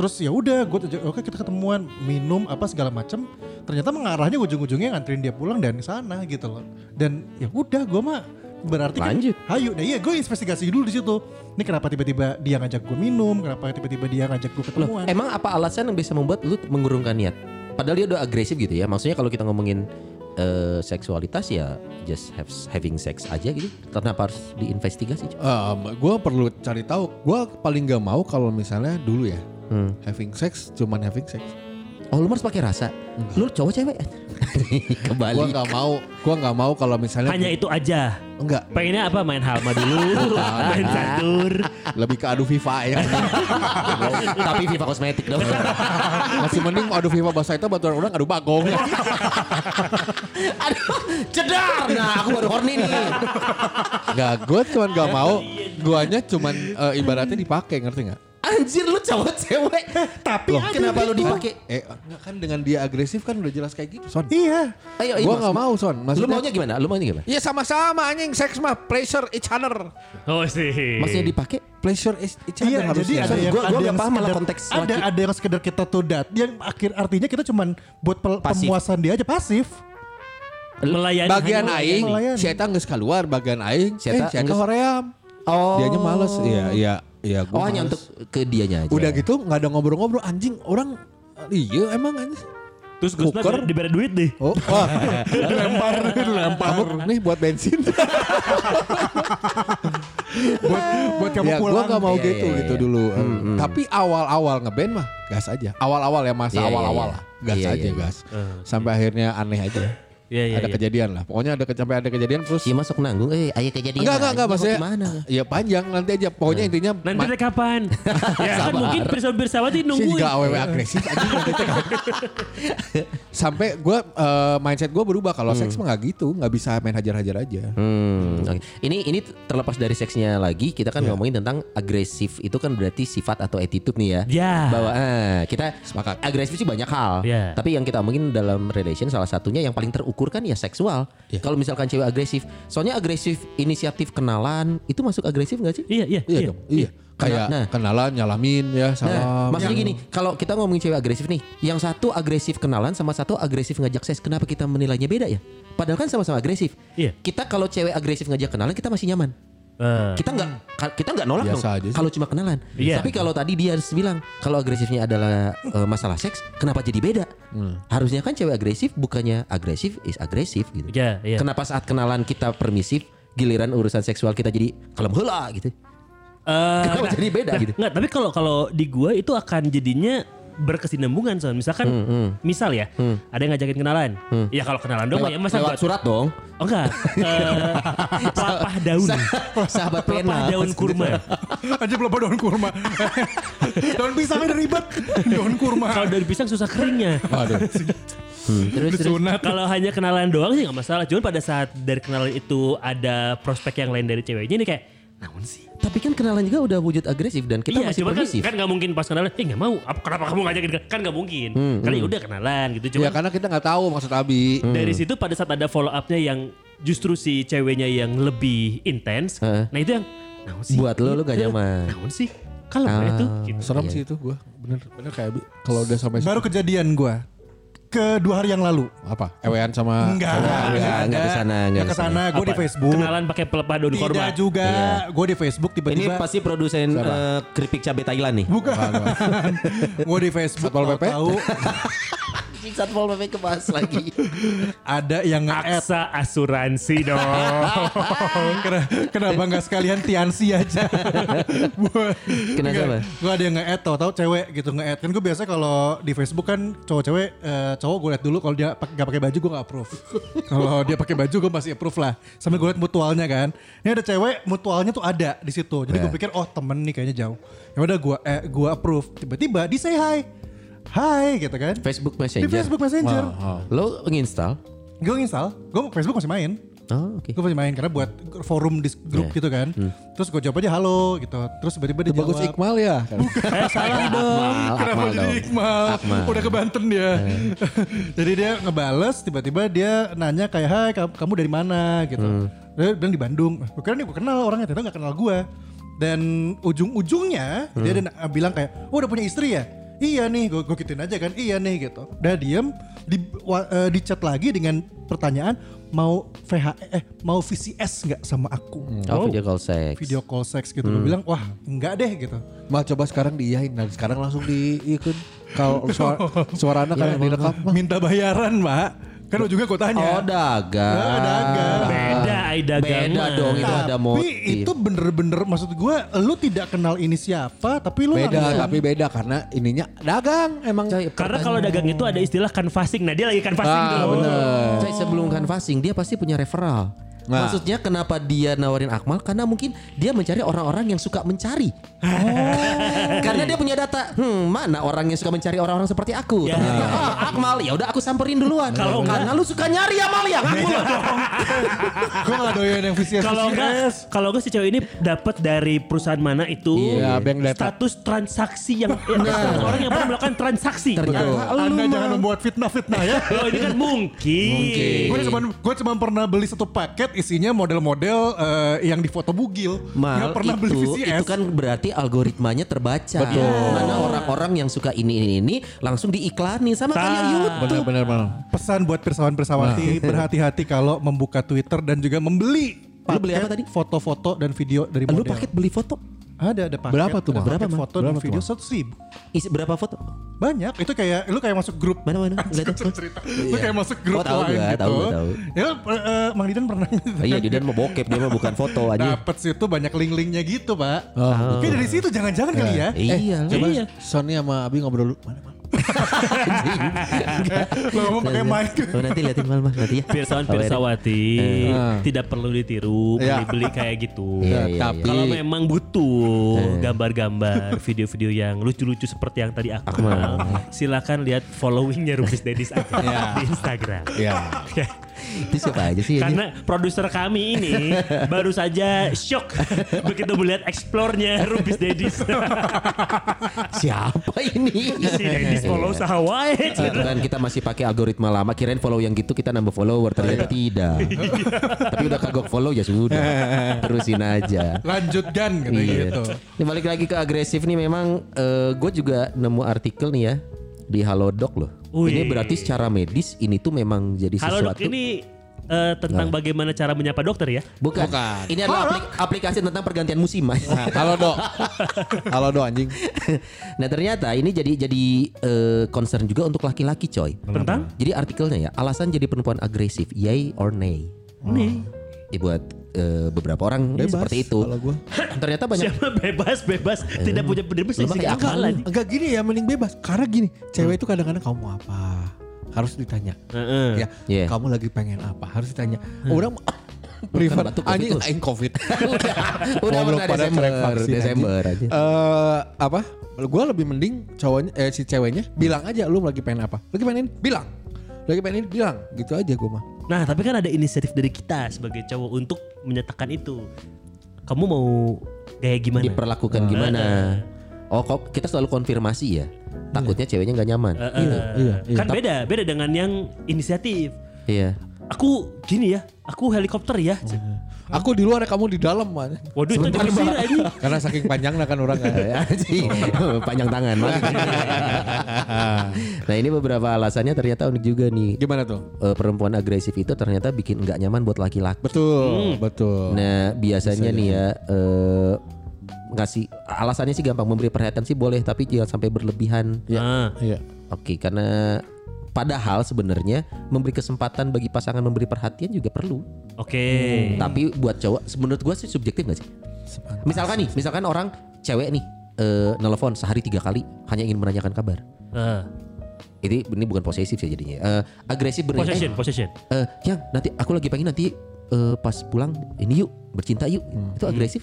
Terus ya udah gue ajak, oke kita ketemuan minum apa segala macem. Ternyata mengarahnya ujung-ujungnya nganterin dia pulang dan ke sana gitu loh. Dan ya udah gue mah berarti
Lanjut.
kan hayu. Nah iya gue investigasi dulu di situ. Ini kenapa tiba-tiba dia ngajak gue minum, kenapa tiba-tiba dia ngajak gue ketemuan.
Emang apa alasan yang bisa membuat lu mengurungkan niat? Padahal dia udah agresif gitu ya. Maksudnya kalau kita ngomongin eh, seksualitas ya just have, having sex aja gitu. Kenapa harus diinvestigasi? coba?
gue perlu cari tahu. Gue paling gak mau kalau misalnya dulu ya
Hmm.
having sex cuman having sex.
Oh lu harus pakai rasa. Lu cowok cewek? Kembali.
Gue nggak mau. Gue nggak mau kalau misalnya
Hanya itu aja.
enggak
Pengennya apa main halma dulu, main catur.
lebih ke adu FIFA ya.
Tapi FIFA kosmetik dong.
Masih mending adu FIFA bahasa itu baturan orang adu bagong.
Aduh, cedar. Nah, aku baru horny nih.
Enggak, gue cuman gak mau. Guanya cuman eh, ibaratnya dipakai ngerti nggak?
Anjir lu cowok cewek. Tapi
Loh,
kenapa lu dipakai?
Eh, enggak kan dengan dia agresif kan udah jelas kayak gitu, Son.
Iya.
Ayo,
Gue gak mau, Son.
Lu
Maksudnya,
maunya gimana? Lu maunya gimana?
Iya sama-sama anjing, seks mah pleasure each other.
Oh sih.
Iya.
Maksudnya dipakai?
Pleasure each each other
Iya, jadi
harusnya.
ada
Kan Sorry,
yang
gua- gua
ada
nggak
yang
paham malah
sekedar-
konteks
ada
laki.
ada yang sekedar kita to that. Yang akhir artinya kita cuman buat pel-
Pasif.
pemuasan dia aja pasif.
Melayani.
bagian
hanya-
aing
melayani.
si eta geus keluar bagian aing
Si
si
eta
eta eh, si eta
geus-
hoream
Oh.
dianya males iya iya iya
Oh,
gua
hanya
males.
untuk ke dianya aja.
udah gitu nggak ada ngobrol-ngobrol anjing orang iya emang anjing
Terus gue
Kuker.
diberi duit deh.
Oh, wah. dilempar, dilempar. nih buat bensin.
buat buat kamu
ya, gua
pulang.
gak mau
Iya,
gitu
iya,
gitu
iya.
dulu. Tapi awal-awal ngeband mah gas aja. Awal-awal ya masa
Iya, iya,
awal-awal
iya.
lah. Gas
Iya,
aja
iya, iya.
gas. Sampai akhirnya aneh aja.
Hmm. Iya, iya,
ada
iya.
kejadian lah. Pokoknya ada ke- sampai ada kejadian terus
Iya masuk nanggung. Eh, ayo kejadian.
Enggak,
iya,
enggak, enggak maksudnya.
Gimana?
Ya panjang nanti aja. Pokoknya intinya
Hmm. Nanti
ma-
deh kapan? ya kan mungkin bersawati
Sih oh.
nungguin.
juga aww agresif aja nanti cek. Sampai gue mindset gue berubah kalau seks mah nggak gitu, nggak bisa main hajar-hajar aja.
Hmm, oke. Ini ini terlepas dari seksnya lagi, kita
Iya.
kan ngomongin tentang agresif itu kan berarti sifat atau attitude nih ya.
Iya.
Ya.
Bahwa eh, kita
Sepakat.
agresif sih banyak hal.
Iya.
Ya.
Tapi yang kita omongin dalam relation salah satunya yang paling terukur kan ya seksual.
Iya.
Kalau misalkan cewek agresif, soalnya agresif inisiatif kenalan itu masuk agresif nggak sih?
Iya, iya,
Iya dong. Iya. Kayak
Nah.
kenalan, nyalamin ya,
Nah,
salam.
maksudnya gini, kalau kita ngomongin cewek agresif nih, yang satu agresif kenalan sama satu agresif ngajak seks, kenapa kita menilainya beda ya? Padahal kan sama-sama agresif.
Iya.
Kita kalau cewek agresif ngajak kenalan kita masih nyaman.
Eh,
Kita nggak ka- kita nggak nolak
Biasa
dong
aja sih.
kalau cuma kenalan.
Iya.
Tapi kalau tadi dia harus bilang kalau agresifnya adalah eh, masalah seks, kenapa jadi beda?
Hmm.
Harusnya kan cewek agresif bukannya agresif is agresif gitu.
Iya, iya.
Kenapa saat kenalan kita permisif, giliran urusan seksual kita jadi kalem heula gitu.
eh,
Kenapa jadi beda gitu?
Nggak, tapi kalau kalau di gua itu akan jadinya berkesinambungan son. Misalkan misal ya, ada yang ngajakin kenalan. Ya kalau kenalan dong ya masa
Lewat
buat
surat dong.
Oh enggak, eh, pelepah daun.
Sahabat
Pelepah
pena.
daun kurma.
aja belum daun kurma. daun pisangnya udah ribet. Daun kurma.
Kalau daun pisang susah keringnya. Hmm.
Waduh.
Terus terus.
Disunat.
Kalau hanya kenalan doang sih nggak masalah. Cuman pada saat dari kenalan itu ada prospek yang lain dari ceweknya ini kayak namun sih.
Tapi kan kenalan juga udah wujud agresif dan kita
iya,
masih
cuman kan
permisif.
kan nggak mungkin pas kenalan, eh nggak mau. Apa, kenapa kamu ngajakin kan nggak mungkin.
Hmm,
Kali udah kenalan gitu. Cuman
ya
Iya kan?
karena kita nggak tahu maksud Abi.
Hmm.
dari situ pada saat ada follow upnya yang justru si ceweknya yang lebih intens.
Heeh.
Nah itu yang namun sih.
Buat lo, lo nggak
Eh,
nyaman.
Namun sih. Kalau
Ah.
itu gitu.
Serem sih itu gue. Bener, bener kayak Abi. Kalau udah sampai
Baru kejadian gua ke dua hari yang lalu.
apa? Ewean sama
Enggak.
Ah, Enggak, enggak ke sana, enggak
Nggak
ke
ke
sana.
sana, gue di
Apa?
Facebook.
Kenalan pakai pelepah daun
Tidak
korma.
juga, gue di Facebook
Iya. Ini
tiba-tiba.
pasti produsen eh, keripik cabai Thailand nih.
Bukan. gue di Facebook
Satpol PP?
tahu
Satpol PP kebas lagi.
ada yang nge-add.
Aksa asuransi dong.
Oh, Kena- Kenapa nggak sekalian Tiansi aja?
Kena siapa?
Gue ada yang nge-add tau-tau cewek gitu nge-add. Kan gue biasa kalau di Facebook kan cowok-cewek, eh, cowok gue liat dulu kalau dia pak- nggak pakai baju gue nggak approve. kalau dia pakai baju gue masih approve lah. Sambil gue liat mutualnya kan. Ini ada cewek mutualnya tuh ada di situ. Jadi
Iya.
gue pikir oh temen nih kayaknya jauh. Ya udah gue eh, gue approve. Tiba-tiba di say hi. Hai gitu kan.
Facebook
Di
Messenger.
Facebook Messenger.
Oh, Lo nginstal?
Gue install. Gue Facebook masih main.
Oh, oke.
Gue masih main karena buat forum di grup
Iya.
gitu kan. Terus gue jawab aja halo gitu. Terus tiba-tiba dia
Bagus
jawab.
Iqmal ya.
eh, salah dong.
Akmal,
Kenapa
Akmal
jadi
dong.
Iqmal? Udah ke Banten dia. jadi dia ngebales tiba-tiba dia nanya kayak hai kam- kamu dari mana gitu.
Hmm.
Dia bilang di Bandung. Gue kira nih gue kenal orangnya ternyata
Hmm.
ah, nggak kenal gue. Dan ujung-ujungnya dia ada na- bilang kayak, oh udah punya istri ya? iya nih gue gue gituin aja kan iya nih gitu udah diem di wa- eh, di chat lagi dengan pertanyaan mau VH eh mau VCS nggak sama aku
Oh, video call sex.
video call sex gitu
Hmm.
gue bilang wah enggak deh gitu
Mah coba sekarang diiyain dan sekarang langsung diikut kalau suara suara anak kan yang direkam mah.
minta bayaran mbak kan ujungnya gue tanya
Oh dagang.
Nah, dagang.
Beda Aida
Beda dong itu ada
tapi
motif.
itu bener-bener maksud gue lu tidak kenal ini siapa tapi lu
Beda
langsung-
tapi beda karena ininya dagang emang.
Karena kalau dagang itu ada istilah canvassing. Nah, dia lagi canvassing
Ah,
dulu.
bener.
Saya sebelum canvassing dia pasti punya referral.
Nah.
Maksudnya kenapa dia nawarin Akmal? Karena mungkin dia mencari orang-orang yang suka mencari. Karena dia punya data. Hmm, mana orang yang suka mencari orang-orang seperti aku?
Ya.
Ternyata, "Ah, Akmal, ya udah aku samperin duluan.
Kalau
Karena lu suka nyari Akmal ya, ngaku lu.
gue gak doyan yang VCS
Kalau enggak, kalau enggak si cewek ini dapat dari perusahaan mana itu
Iya, bank data.
status transaksi yang eh, status orang yang pernah melakukan transaksi.
Ternyata lu
Anda
mah.
jangan membuat fitnah-fitnah ya.
Loh, ini kan mungkin.
Iya.
Gue cuma gue cuma pernah beli satu paket isinya model-model eh, yang difoto bugil.
Mal
Nggak pernah
itu,
beli VCS.
itu kan berarti algoritmanya terbaca. Mana orang-orang yang suka ini ini ini langsung diiklani sama kayak
Tah.
YouTube.
Benar-benar mal.
Pesan buat pirsawan-pirsawati berhati-hati kalau membuka Twitter dan juga membeli
Lu beli apa tadi?
paket Foto-foto dan video dari
Lu
model.
paket beli foto?
Ada ada paket.
Berapa tuh,
Ada
Bang?
paket
Berapa, Bang?
foto
Berapa
dan
tuh,
video
Bang?
satu ribu.
Isi berapa foto?
Banyak. Itu kayak lu kayak masuk grup.
Mana mana?
Anjing,
Lihat
gua
ya.
cerita. Lu kayak masuk grup
Oh, tahu
lain
gua,
gitu.
tahu gua, tahu.
Ya eh, eh, Mang Didan pernah
Ah, Iya, Didan mau bokep dia mah bukan foto aja.
Dapet situ banyak link-linknya gitu, Pak. Kayak dari situ jangan-jangan kali ya.
Iya.
Coba
Iya.
Sony sama Abi ngobrol dulu. Mana, Mal?
Lu ngomong pakai mic.
Oh, nanti liatin mal Mal, nanti ya.
Pirsawan
Kabarin.
Pirsawati eh, tidak perlu ditiru
Iya.
beli-beli kayak gitu.
Ya,
Iya, iya,
tapi
Kalau memang butuh
Iya.
gambar-gambar, video-video yang lucu-lucu seperti yang tadi
Iya.
Akmal, silakan lihat followingnya Rubis Dedis aja
Iya.
di Instagram.
ya.
Ya.
Itu siapa aja sih ini?
Karena produser kami ini baru saja shock begitu melihat explore-nya Rubis Dedis.
Siapa ini? Iya,
si Dedis follow sahawai.
Kan kita masih pakai algoritma lama kirain follow yang gitu kita nambah follower ternyata tidak. Tapi udah kagok follow ya sudah. Terusin aja.
Lanjutkan gitu
Iya.
gitu.
Ini balik lagi ke agresif nih memang gue juga nemu artikel nih ya di Halodoc loh.
Wih.
Ini berarti secara medis ini tuh memang jadi
Halo
sesuatu.
dok ini eh, tentang bagaimana cara menyapa dokter ya?
Bukan.
Bukan.
Ini adalah aplik- aplikasi tentang pergantian musim, Mas.
Nah, Halo dok. Halo dok anjing.
nah, ternyata ini jadi jadi eh, concern juga untuk laki-laki, coy.
Tentang?
Jadi artikelnya ya, alasan jadi perempuan agresif, yay or nay.
Nih.
Ya, buat eh, beberapa orang
Oh. Bebas
seperti itu.
kalau gua.
ternyata banyak Eh,
Siapa bebas bebas tidak punya pendirian
Lu pakai akal
akal aja.
Enggak gini ya mending bebas. Karena gini, cewek itu kadang-kadang kamu apa? Harus ditanya. Ya,
Iya.
kamu lagi pengen apa? Harus ditanya. Orang prefer
batuk COVID
anjing
tuh.
aing covid.
udah, udah
Goblok
pernah
pada
Desember,
crack vaksin,
Desember aja.
anjing. Eh, apa? Gua lebih mending cowoknya eh, si ceweknya bilang aja lu lagi pengen apa? Lagi pengen ini? bilang. Lagi pengen ini? bilang. Gitu aja gua mah.
Nah tapi kan ada inisiatif dari kita sebagai cowok untuk menyatakan itu. Kamu mau gaya gimana?
diperlakukan
Nah,
gimana? Oh, kok kita selalu konfirmasi ya. Takutnya ceweknya nggak nyaman.
Eh, eh, Kan beda beda dengan yang inisiatif.
Iya.
Aku gini ya, aku helikopter ya.
Oh,
Aku di luar ya kamu di dalam man.
Waduh itu
Sebentar,
dipisir
Mbak.
aja.
Karena saking panjangnya kan orang kan.
Iya. Anjing, panjang tangan. maksudnya. nah, ini beberapa alasannya ternyata unik juga nih.
Gimana tuh?
Eh, perempuan agresif itu ternyata bikin nggak nyaman buat laki-laki.
Betul, betul.
Nah, biasanya nih ya eh, ngasih alasannya sih gampang memberi perhatian sih boleh, tapi jangan sampai berlebihan.
Ah,
Iya.
Oke, karena padahal sebenarnya memberi kesempatan bagi pasangan memberi perhatian juga perlu.
Oke.
Tapi buat cowok, menurut gua sih subjektif gak sih?
Sepan-
Misalkan nih, misalkan orang cewek nih eh, nelpon sehari tiga kali hanya ingin menanyakan kabar.
Ah,
Ini ini bukan posesif ya jadinya. Eh, agresif berarti.
Possession, possession.
Eh, yang nanti aku lagi pengen nanti eh, pas pulang ini yuk bercinta yuk.
Hmm.
Itu agresif?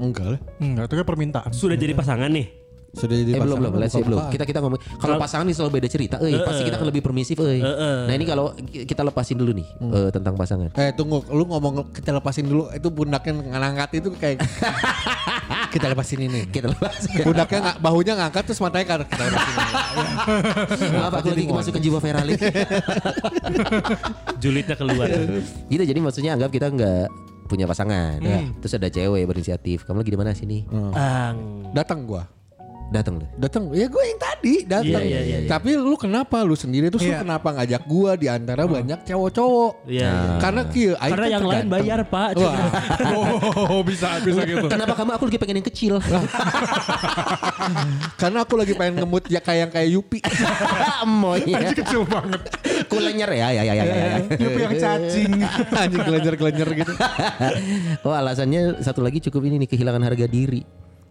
Enggak lah.
Enggak, itu kan permintaan.
Sudah jadi pasangan nih.
Sudah jadi
Eh belum
Iya,
belum,
pasangan,
let's see, belum.
bukan-bukan.
Kita kita ngomong kalau Eh, pasangan nih selalu beda cerita, euy, pasti kita akan lebih permisif, euy. Nah, ini kalau kita lepasin dulu nih
Hmm.
eh, tentang pasangan.
Eh tunggu, lu ngomong kita lepasin dulu itu pundaknya ngangkat itu kayak kita lepasin ini.
Kita lepas.
Pundaknya nggak bahunya ngangkat terus matanya kan kita lepasin ini.
Maaf aku lagi
Jadi
masuk ke jiwa Ferrari.
Julitnya keluar.
gitu jadi maksudnya anggap kita nggak
Hmm.
punya pasangan. Terus ada cewek berinisiatif, kamu lagi di mana sini?
Ang.
Datang gua.
datang lu.
datang ya gue yang tadi datang
Iya, iya, iya, iya.
tapi lu kenapa lu sendiri terus lu
Iya.
kenapa ngajak gue di antara banyak cowok-cowok
Oh. Iya, iya.
karena kieu aing
Karena
teh
yang lain
terganteng.
bayar pak.
Wah.
Oh bisa bisa gitu.
Kenapa kamu aku lagi pengen yang kecil?
karena aku lagi pengen ngemut ya kayak yang kayak Yupi
Emoy.
Anjing kecil banget.
Kulenyer ya ya ya ya ya. ya.
Yupi Iya, yang cacing.
anjing gelenjer-gelenjer gitu
Oh alasannya satu lagi cukup ini nih kehilangan harga diri.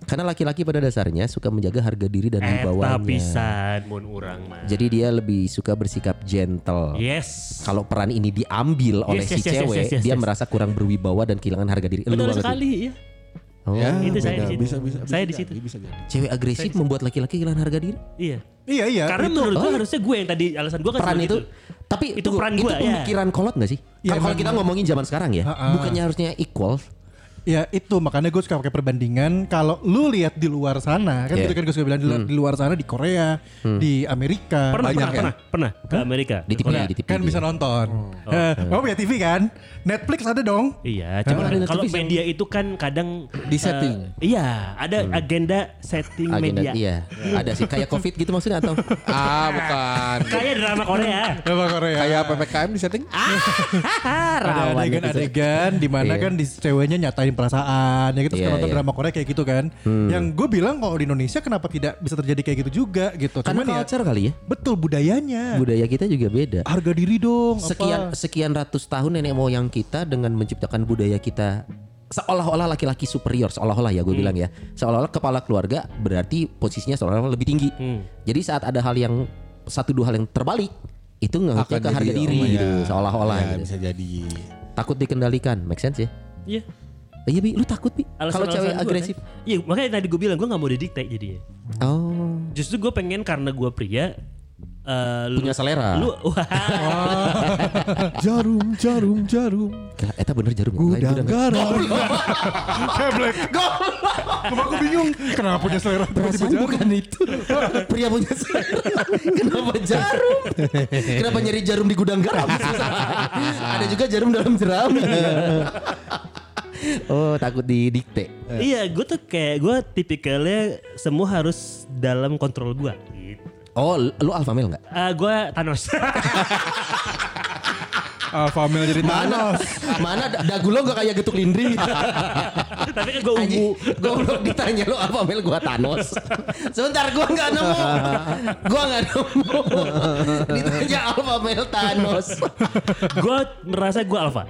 Karena laki-laki pada dasarnya suka menjaga harga diri dan
Eta
wibawanya.
Eh, pisan mun urang mah.
Jadi dia lebih suka bersikap gentle.
Yes.
Kalau peran ini diambil oleh si
yes, yes, yes,
cewek,
yes, yes,
dia
yes.
merasa kurang berwibawa dan kehilangan harga diri. Lu
Betul
banget
sekali ya.
sih. Oh.
ya
Itu
beda.
saya di situ.
bisa, bisa, bisa
Saya di
jadi,
situ.
bisa jadi
Cewek agresif membuat laki-laki kehilangan harga diri.
Iya.
Iya iya.
Karena
itu.
menurut gue
Oh.
harusnya gue yang tadi alasan gue kan
Peran
cuma
itu
gitu.
tapi
Itu peran
itu
gua, ya.
pemikiran kolot gak sih?
Iya,
Kan kalau
emang.
kita ngomongin zaman sekarang ya,
Ha-ha.
bukannya harusnya equal.
Ya itu makanya gue suka pakai perbandingan kalau lu lihat di luar sana kan
Iya.
gitu kan gue suka bilang di, luar- di luar sana di Korea, di Amerika
Pernah,
banyak
pernah,
ya.
pernah, pernah ke Amerika.
Di TV,
Pernah,
Iya, di Oh, TV.
kan bisa nonton. Eh, Kamu punya TV kan? Netflix ada dong.
Iya, cuma
Ada
kalau
notifikasi.
media itu kan kadang
Di setting.
eh, iya, ada agenda setting
Agenda,
media.
iya. Ada sih kayak Covid gitu maksudnya atau
ah bukan
Kayak drama Korea.
Apa Korea?
kayak PPKM di setting
Ah,
ada
rawan itu.
adegan-adegan di mana
Iya.
kan di ceweknya nyatain perasaan ya kita
Iya,
suka nonton
iya. Hmm.
drama Korea kayak gitu kan yang gue bilang kalau di Indonesia kenapa tidak bisa terjadi kayak gitu juga gitu
Karena
cuman ya
culture kali
eh.
ya.
betul budayanya
Budaya kita juga beda.
harga diri dong
sekian
apa?
sekian ratus tahun nenek moyang kita dengan menciptakan budaya kita seolah-olah laki-laki superior seolah-olah ya gue
Hmm.
bilang ya seolah-olah kepala keluarga berarti posisinya seolah-olah lebih tinggi
Hmm.
jadi saat ada hal yang satu dua hal yang terbalik itu nggak
Akan
ke harga
jadi,
diri
oh, iya.
gitu, seolah-olah
Ya,
gitu.
bisa jadi
takut dikendalikan make sense ya
Iya.
iya bi lu takut bi
Alasan-
kalau cewek
alasan gua,
agresif
kan. Iya, makanya tadi gue bilang gue nggak mau didikte jadinya.
oh
Justru gue pengen karena gue pria eh, lu-
Punya selera.
Lu wah,
jarum jarum jarum
Gak, eta bener jarum ya? Lain
gudang
gudang.
garam
Keblek. Cuma aku bingung kenapa punya selera tiba-tiba
Perasaan
jarum.
bukan itu Pria punya selera Kenapa jarum Kenapa nyari jarum di gudang garam Susah. Ada juga jarum dalam jerami Oh takut didikte
iya, gue tuh kayak gue tipikalnya semua harus dalam kontrol gue. Gitu.
Oh lu alpha male gak?
Eh, gue Thanos.
Alpha male jadi
Mana Mana da- dagu lo gak kayak getuk lindri
Tapi kan gue ungu.
Anjing Goblok ditanya lu alpha male gua Thanos Sebentar gua gak nemu Gua gak nemu Ditanya alpha male Thanos
Gue merasa gue alpha.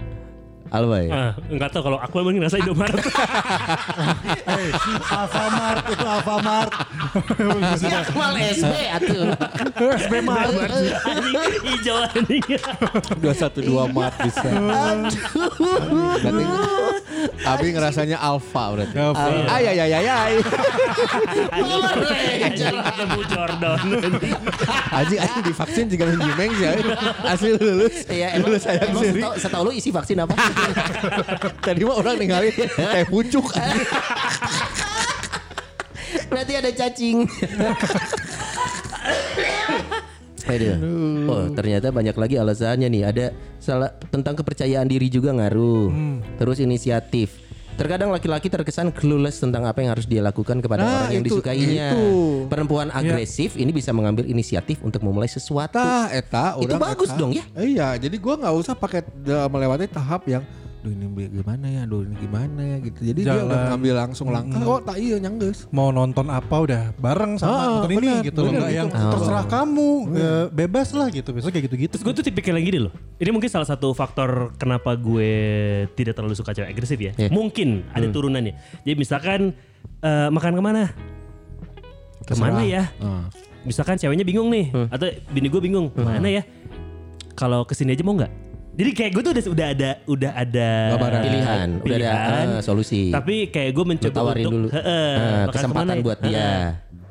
Alpha ya
Ah, Enggak tau kalau aku emang ngerasa Indomaret.
Hey, Alfamart itu Alfamart.
Ya Kemal SB atuh.
SB Mart.
anjing hijau anjing.
dua satu dua mat bisa berarti Abi ngerasanya alfa berarti
Alpha.
ay ay ay ay ay
Anjing,
Boleh.
anjing ketemu Jordan.
Aji aji divaksin juga menjimeng sih Abi. asli lulus
Iya, emang,
lulus sayang
emang
sendiri
setau, setau lu isi vaksin apa?
tadi mah orang ninggalin kayak pucuk
Berarti ada cacing. Aduh. Oh ternyata banyak lagi alasannya nih. Ada salah tentang kepercayaan diri juga ngaruh.
Hmm.
Terus inisiatif. Terkadang laki-laki terkesan clueless tentang apa yang harus dia lakukan kepada
Nah,
orang yang
itu-
disukainya.
itu. Iya.
Perempuan agresif ini bisa mengambil inisiatif untuk memulai sesuatu.
Tah, eta
Itu
urang
bagus
eta.
dong ya.
Iya, jadi gua nggak usah pakai da- melewati tahap yang Duh ini bi- gimana ya, duh ini gimana ya gitu. Jadi dia
Jalan.
udah ngambil langsung langkah. Oh tak iya nyangges.
mau nonton apa udah
Ah,
bareng sama nonton
benar,
ini gitu loh
benar
nggak
gitu.
yang terserah kamu eh, bebas lah gitu biasanya kayak gitu-gitu
Terus gue tuh tipikal yang gini loh. Ini mungkin salah satu faktor kenapa gue tidak terlalu suka cewek agresif ya.
Iya.
Mungkin ada turunannya. Jadi misalkan eh, makan kemana? Kemana ya?
Ah.
Misalkan ceweknya bingung nih,
Hmm.
atau bini gue bingung, mana ya? Kalau kesini aja mau nggak? Jadi kayak gue tuh udah, udah ada, udah ada
Gambaran.
Pilihan, udah ada,
pilihan.
eh, solusi.
Tapi kayak gue mencoba
tawarin
untuk
dulu.
heeh,
Eh,
makan
kesempatan
kemana ya?
buat dia.
Heeh.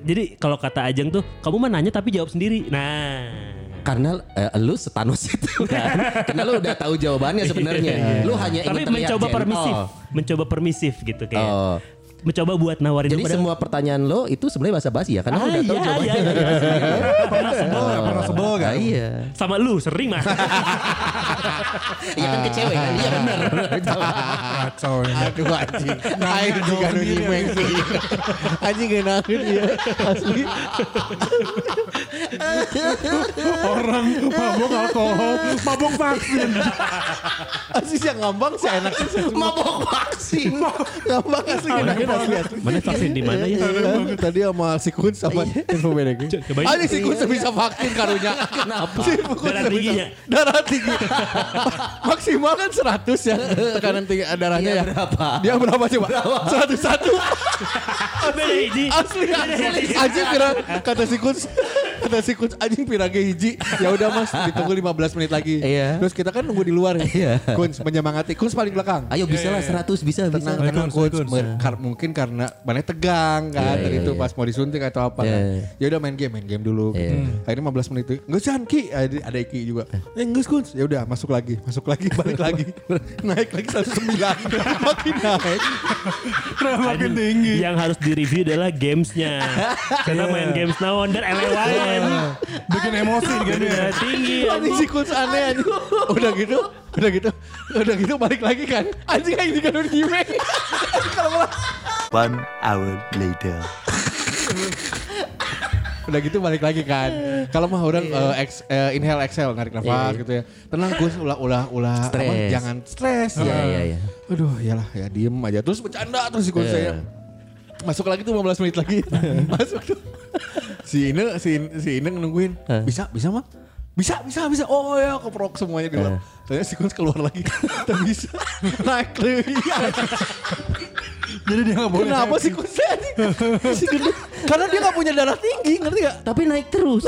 Jadi kalau kata Ajeng tuh, kamu mah nanya tapi jawab sendiri. Nah,
Karena eh, lu setanos itu kan. Karena lu udah tahu jawabannya Iya, sebenarnya. Lu hanya ingin
tapi
terlihat
mencoba
gentle.
permisif mencoba permisif gitu kayak
Oh.
mencoba buat nawarin
Jadi
lu padahal-
semua pertanyaan lo itu sebenarnya bahasa basi ya karena
Ah,
lo udah tahu
iya,
jawabannya.
iya, iya, iya.
Pernah sebel, nggak pernah sebel kan?
Iya.
sama lu sering mah
Iya kan ke cewek kan? Iya benar.
Kacau ya.
Aduh anjing. Aing juga iya. nu nyimeng sih. Anjing ngeunakeun ieu asli.
Orang mabok alkohol, mabok vaksin.
Asli sih ngambang sih enak sih.
Mabok vaksin.
Ngambang asli ngeunakeun asli asli.
mana vaksin di mana ya
Iya, Tadi sama si Kun sama info beda gitu.
Coba ini.
Ani si Kun bisa vaksin karunya. Kenapa? Si Kun
Darah
bisa-
tingginya.
Darah tinggi. Maksimal kan 100 ya tekanan tinggi darahnya ya.
Iya, berapa?
Dia berapa coba? 101.
beda hiji
Asli
Iya,
anjing pirang kata si Kun kata si Kun anjing pirangnya hiji. Ya udah Mas, ditunggu 15 menit lagi.
Iya.
Terus kita kan nunggu di luar
Iya.
ya. Kun menyemangati. Kun paling belakang.
Ayo bisa lah 100 bisa bisa.
Tenang, tenang
Kun,
Kun.
Kun.
Mer- kar- mungkin karena mana tegang kan
Iya,
tadi
iya,
itu
iya.
pas mau disuntik atau apa
Iya,
kan.
iya.
Ya udah main game, main game dulu.
Iya.
Hmm. Akhirnya 15 menit itu. Enggak sih Ki, ada, ada Iki juga. Eh enggak Kun. Ya udah masuk lagi, masuk lagi, balik lagi. naik lagi 109. Makin naik.
Kenapa makin tinggi?
yang harus direview adalah gamesnya karena main games naon dan elewain
Bikin emosi gitu ya.
Darah tinggi
Iya,
Anjing si Kus aneh anjing. Udah gitu, udah gitu, udah gitu balik lagi kan. Anjing kayak di kantor gimeng. Kalau malah.
One hour later.
Udah gitu balik lagi kan. Kalau mah orang
Iya.
eh, ex- eh, inhale exhale narik nafas gitu ya. Tenang Kus ulah ulah ulah apa,
Stres.
jangan stres.
Iya,
Ah.
iya, iya.
Aduh, iyalah ya diem aja. Terus bercanda terus si Kus saya. Masuk lagi tuh 15 menit lagi. Masuk tuh. Si Ine si, si Ine nungguin. Bisa, bisa mah. Bisa, bisa, bisa. Oh ya, keprok semuanya di
Iya.
luar. Ternyata si Kus keluar lagi. Tak bisa. Naik lagi. Iya.
Jadi dia nggak boleh.
Kenapa sih Kus anjing? Si gendut. Karena dia gak punya darah tinggi, ngerti gak?
Tapi naik terus.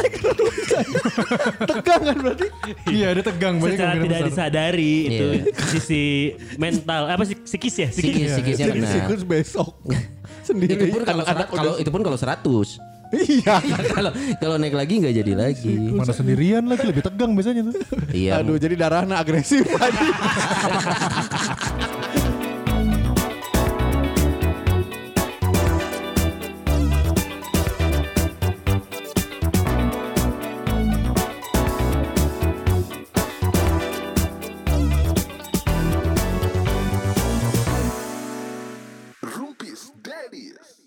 Tegang kan berarti.
Iya, dia tegang banyak
secara
kemungkinan
tidak
besar.
disadari itu
Iya.
sisi mental apa sih psikis ya
Sikis, sikisnya
Jadi si
benar.
Kus besok
Nah. Itu
sendiri
pun kalau
anak-anak
serat- kalau
udah-
itu pun kalau 100.
iya.
Kalau kalau naik lagi nggak jadi lagi.
Mana sendirian lagi lebih tegang biasanya tuh.
Iya.
Aduh, jadi darahnya agresif tadi.
Rumpis Daddies.